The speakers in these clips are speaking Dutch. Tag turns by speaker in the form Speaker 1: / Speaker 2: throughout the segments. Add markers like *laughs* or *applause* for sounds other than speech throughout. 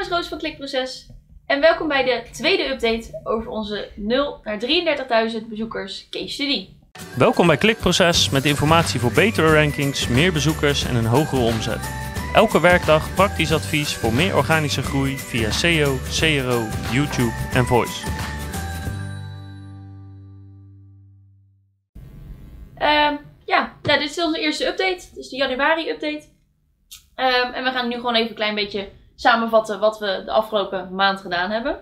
Speaker 1: is Roos van Klikproces en welkom bij de tweede update over onze 0 naar 33.000 bezoekers case study.
Speaker 2: Welkom bij Klikproces met informatie voor betere rankings, meer bezoekers en een hogere omzet. Elke werkdag praktisch advies voor meer organische groei via E SEO, CRO, YouTube en Voice.
Speaker 1: Ehm, ja, nou, dit is onze eerste update. Dit is de januari-update. Ehm, en we gaan nu gewoon even een klein beetje samenvatten wat we de afgelopen maand gedaan hebben.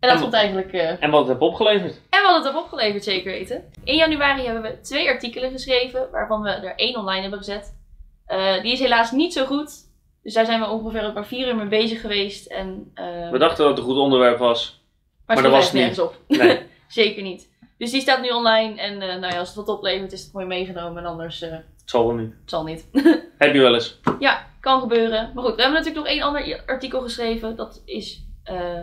Speaker 1: En dat komt eigenlijk... eh,
Speaker 3: En wat het heeft opgeleverd.
Speaker 1: En wat het heeft opgeleverd, zeker weten. In januari hebben we twee artikelen geschreven, waarvan we er één online hebben gezet. Eh, die is helaas niet zo goed. Dus daar zijn we ongeveer een paar vier uur mee bezig geweest. En, eh,
Speaker 3: We dachten dat het een goed onderwerp was.
Speaker 1: maar
Speaker 3: dat
Speaker 1: stond
Speaker 3: was het
Speaker 1: eigenlijk nergens op. *laughs*
Speaker 3: Nee.
Speaker 1: Zeker niet. Dus die staat nu online. En eh, nou ja, als het wat oplevert, is het mooi meegenomen. En anders eh,
Speaker 3: Het zal wel niet.
Speaker 1: het zal niet. *laughs*
Speaker 3: Heb je wel eens.
Speaker 1: Ja, kan gebeuren. Maar goed, we hebben natuurlijk nog één ander i- artikel geschreven. Dat is eh,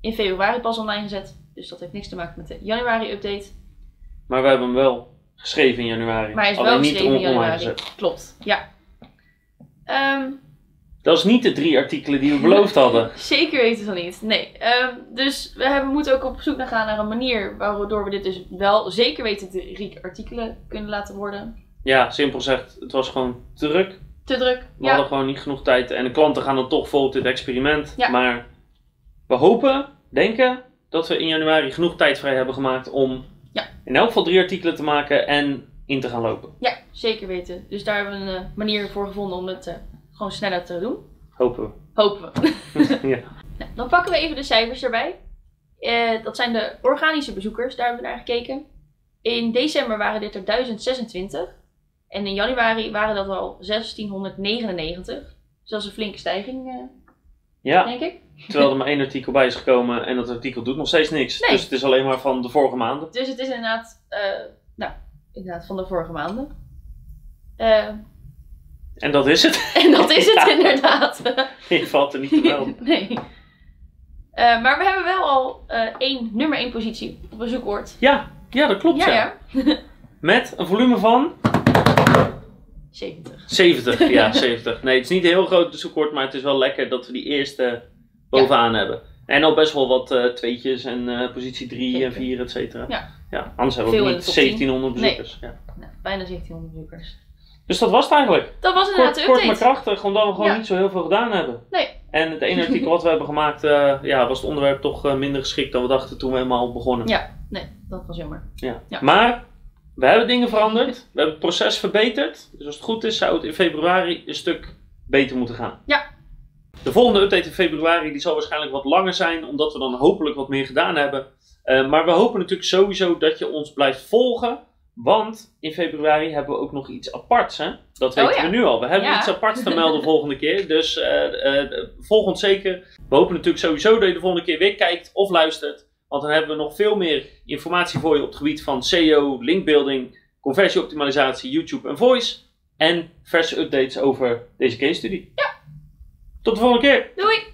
Speaker 1: in februari pas online gezet. Dus dat heeft niks te maken met de januari-update.
Speaker 3: Maar we hebben hem wel geschreven in januari.
Speaker 1: Maar hij is
Speaker 3: Alleen
Speaker 1: wel
Speaker 3: niet
Speaker 1: geschreven in
Speaker 3: on- online
Speaker 1: januari.
Speaker 3: gezet.
Speaker 1: Klopt, ja. Ehm,
Speaker 3: Dat is niet de drie artikelen die we beloofd hadden.
Speaker 1: zeker weten van niet, nee. Ehm, dus we hebben, moeten ook op zoek naar gaan naar een manier waardoor we dit dus wel zeker weten drie artikelen kunnen laten worden.
Speaker 3: Ja, simpel gezegd, het was gewoon druk. We
Speaker 1: Te druk, ja.
Speaker 3: hadden gewoon niet genoeg tijd. En de klanten gaan dan toch vol op dit experiment.
Speaker 1: Ja.
Speaker 3: Maar we hopen, denken, dat we in januari genoeg tijd vrij hebben gemaakt om
Speaker 1: Ja.
Speaker 3: in elk geval drie artikelen te maken en in te gaan lopen.
Speaker 1: Ja, zeker weten. Dus daar hebben we een eh, manier voor gevonden om het eh, gewoon sneller te doen.
Speaker 3: Hopen we.
Speaker 1: Hopen we.
Speaker 3: *laughs* Ja.
Speaker 1: Nou, dan pakken we even de cijfers erbij. Eh, dat zijn de organische bezoekers, daar hebben we naar gekeken. In december waren dit er 1026. En in januari waren dat al 1699. Dus dat is een flinke stijging, eh,
Speaker 3: Ja,
Speaker 1: denk ik.
Speaker 3: terwijl er maar één artikel bij is gekomen en dat artikel doet nog steeds niks.
Speaker 1: Nee.
Speaker 3: Dus het is alleen maar van de vorige maanden.
Speaker 1: Dus het is inderdaad, eh, nou, inderdaad van de vorige maanden. Eh, *laughs*
Speaker 3: En dat is het. *laughs*
Speaker 1: en dat is het
Speaker 3: Ja.
Speaker 1: inderdaad.
Speaker 3: Je valt er niet te melden.
Speaker 1: *laughs* nee. Eh, maar we hebben wel al eh, één, nummer 1 positie op een zoekwoord.
Speaker 3: Ja, ja, dat klopt. Ja,
Speaker 1: Ja, ja.
Speaker 3: Met een volume van
Speaker 1: 70.
Speaker 3: 70.
Speaker 1: *laughs*
Speaker 3: Ja, 70. Nee, het is niet heel groot de zoekwoord, maar het is wel lekker dat we die eerste bovenaan hebben. En al best wel wat eh, tweetjes en eh, positie 3 en
Speaker 1: Zeker.
Speaker 3: 4, et cetera.
Speaker 1: Ja.
Speaker 3: ja, anders hebben we
Speaker 1: Veel
Speaker 3: ook
Speaker 1: in de
Speaker 3: niet
Speaker 1: top 10.
Speaker 3: 1700 bezoekers. Ja.
Speaker 1: Nou, bijna 1700 bezoekers.
Speaker 3: Dus dat was het eigenlijk.
Speaker 1: Dat was inderdaad
Speaker 3: Kort,
Speaker 1: de
Speaker 3: kort maar
Speaker 1: update.
Speaker 3: krachtig, omdat we gewoon
Speaker 1: Ja.
Speaker 3: niet zo heel veel gedaan hebben.
Speaker 1: Nee.
Speaker 3: En het ene artikel wat we hebben gemaakt, eh, ja, was het onderwerp toch eh, minder geschikt dan we dachten toen we helemaal begonnen.
Speaker 1: nee, dat was jammer.
Speaker 3: Ja.
Speaker 1: Ja.
Speaker 3: Maar we hebben dingen veranderd. We hebben het proces verbeterd. Dus als het goed is, zou het in februari een stuk beter moeten gaan.
Speaker 1: Ja.
Speaker 3: De volgende update in februari die zal waarschijnlijk wat langer zijn, omdat we dan hopelijk wat meer gedaan hebben. Eh, maar we hopen natuurlijk sowieso dat je ons blijft volgen. Want in februari hebben we ook nog iets aparts. Hè? Dat
Speaker 1: Oh
Speaker 3: weten
Speaker 1: ja.
Speaker 3: we nu al. We hebben
Speaker 1: Ja.
Speaker 3: iets aparts te melden volgende keer. Dus eh, eh, volg ons zeker. We hopen natuurlijk sowieso dat je de volgende keer weer kijkt of luistert. Want dan hebben we nog veel meer informatie voor je op het gebied van SEO, linkbuilding, conversieoptimalisatie, YouTube en voice. En verse updates over deze case study. Ja. Tot de volgende keer.
Speaker 1: Doei!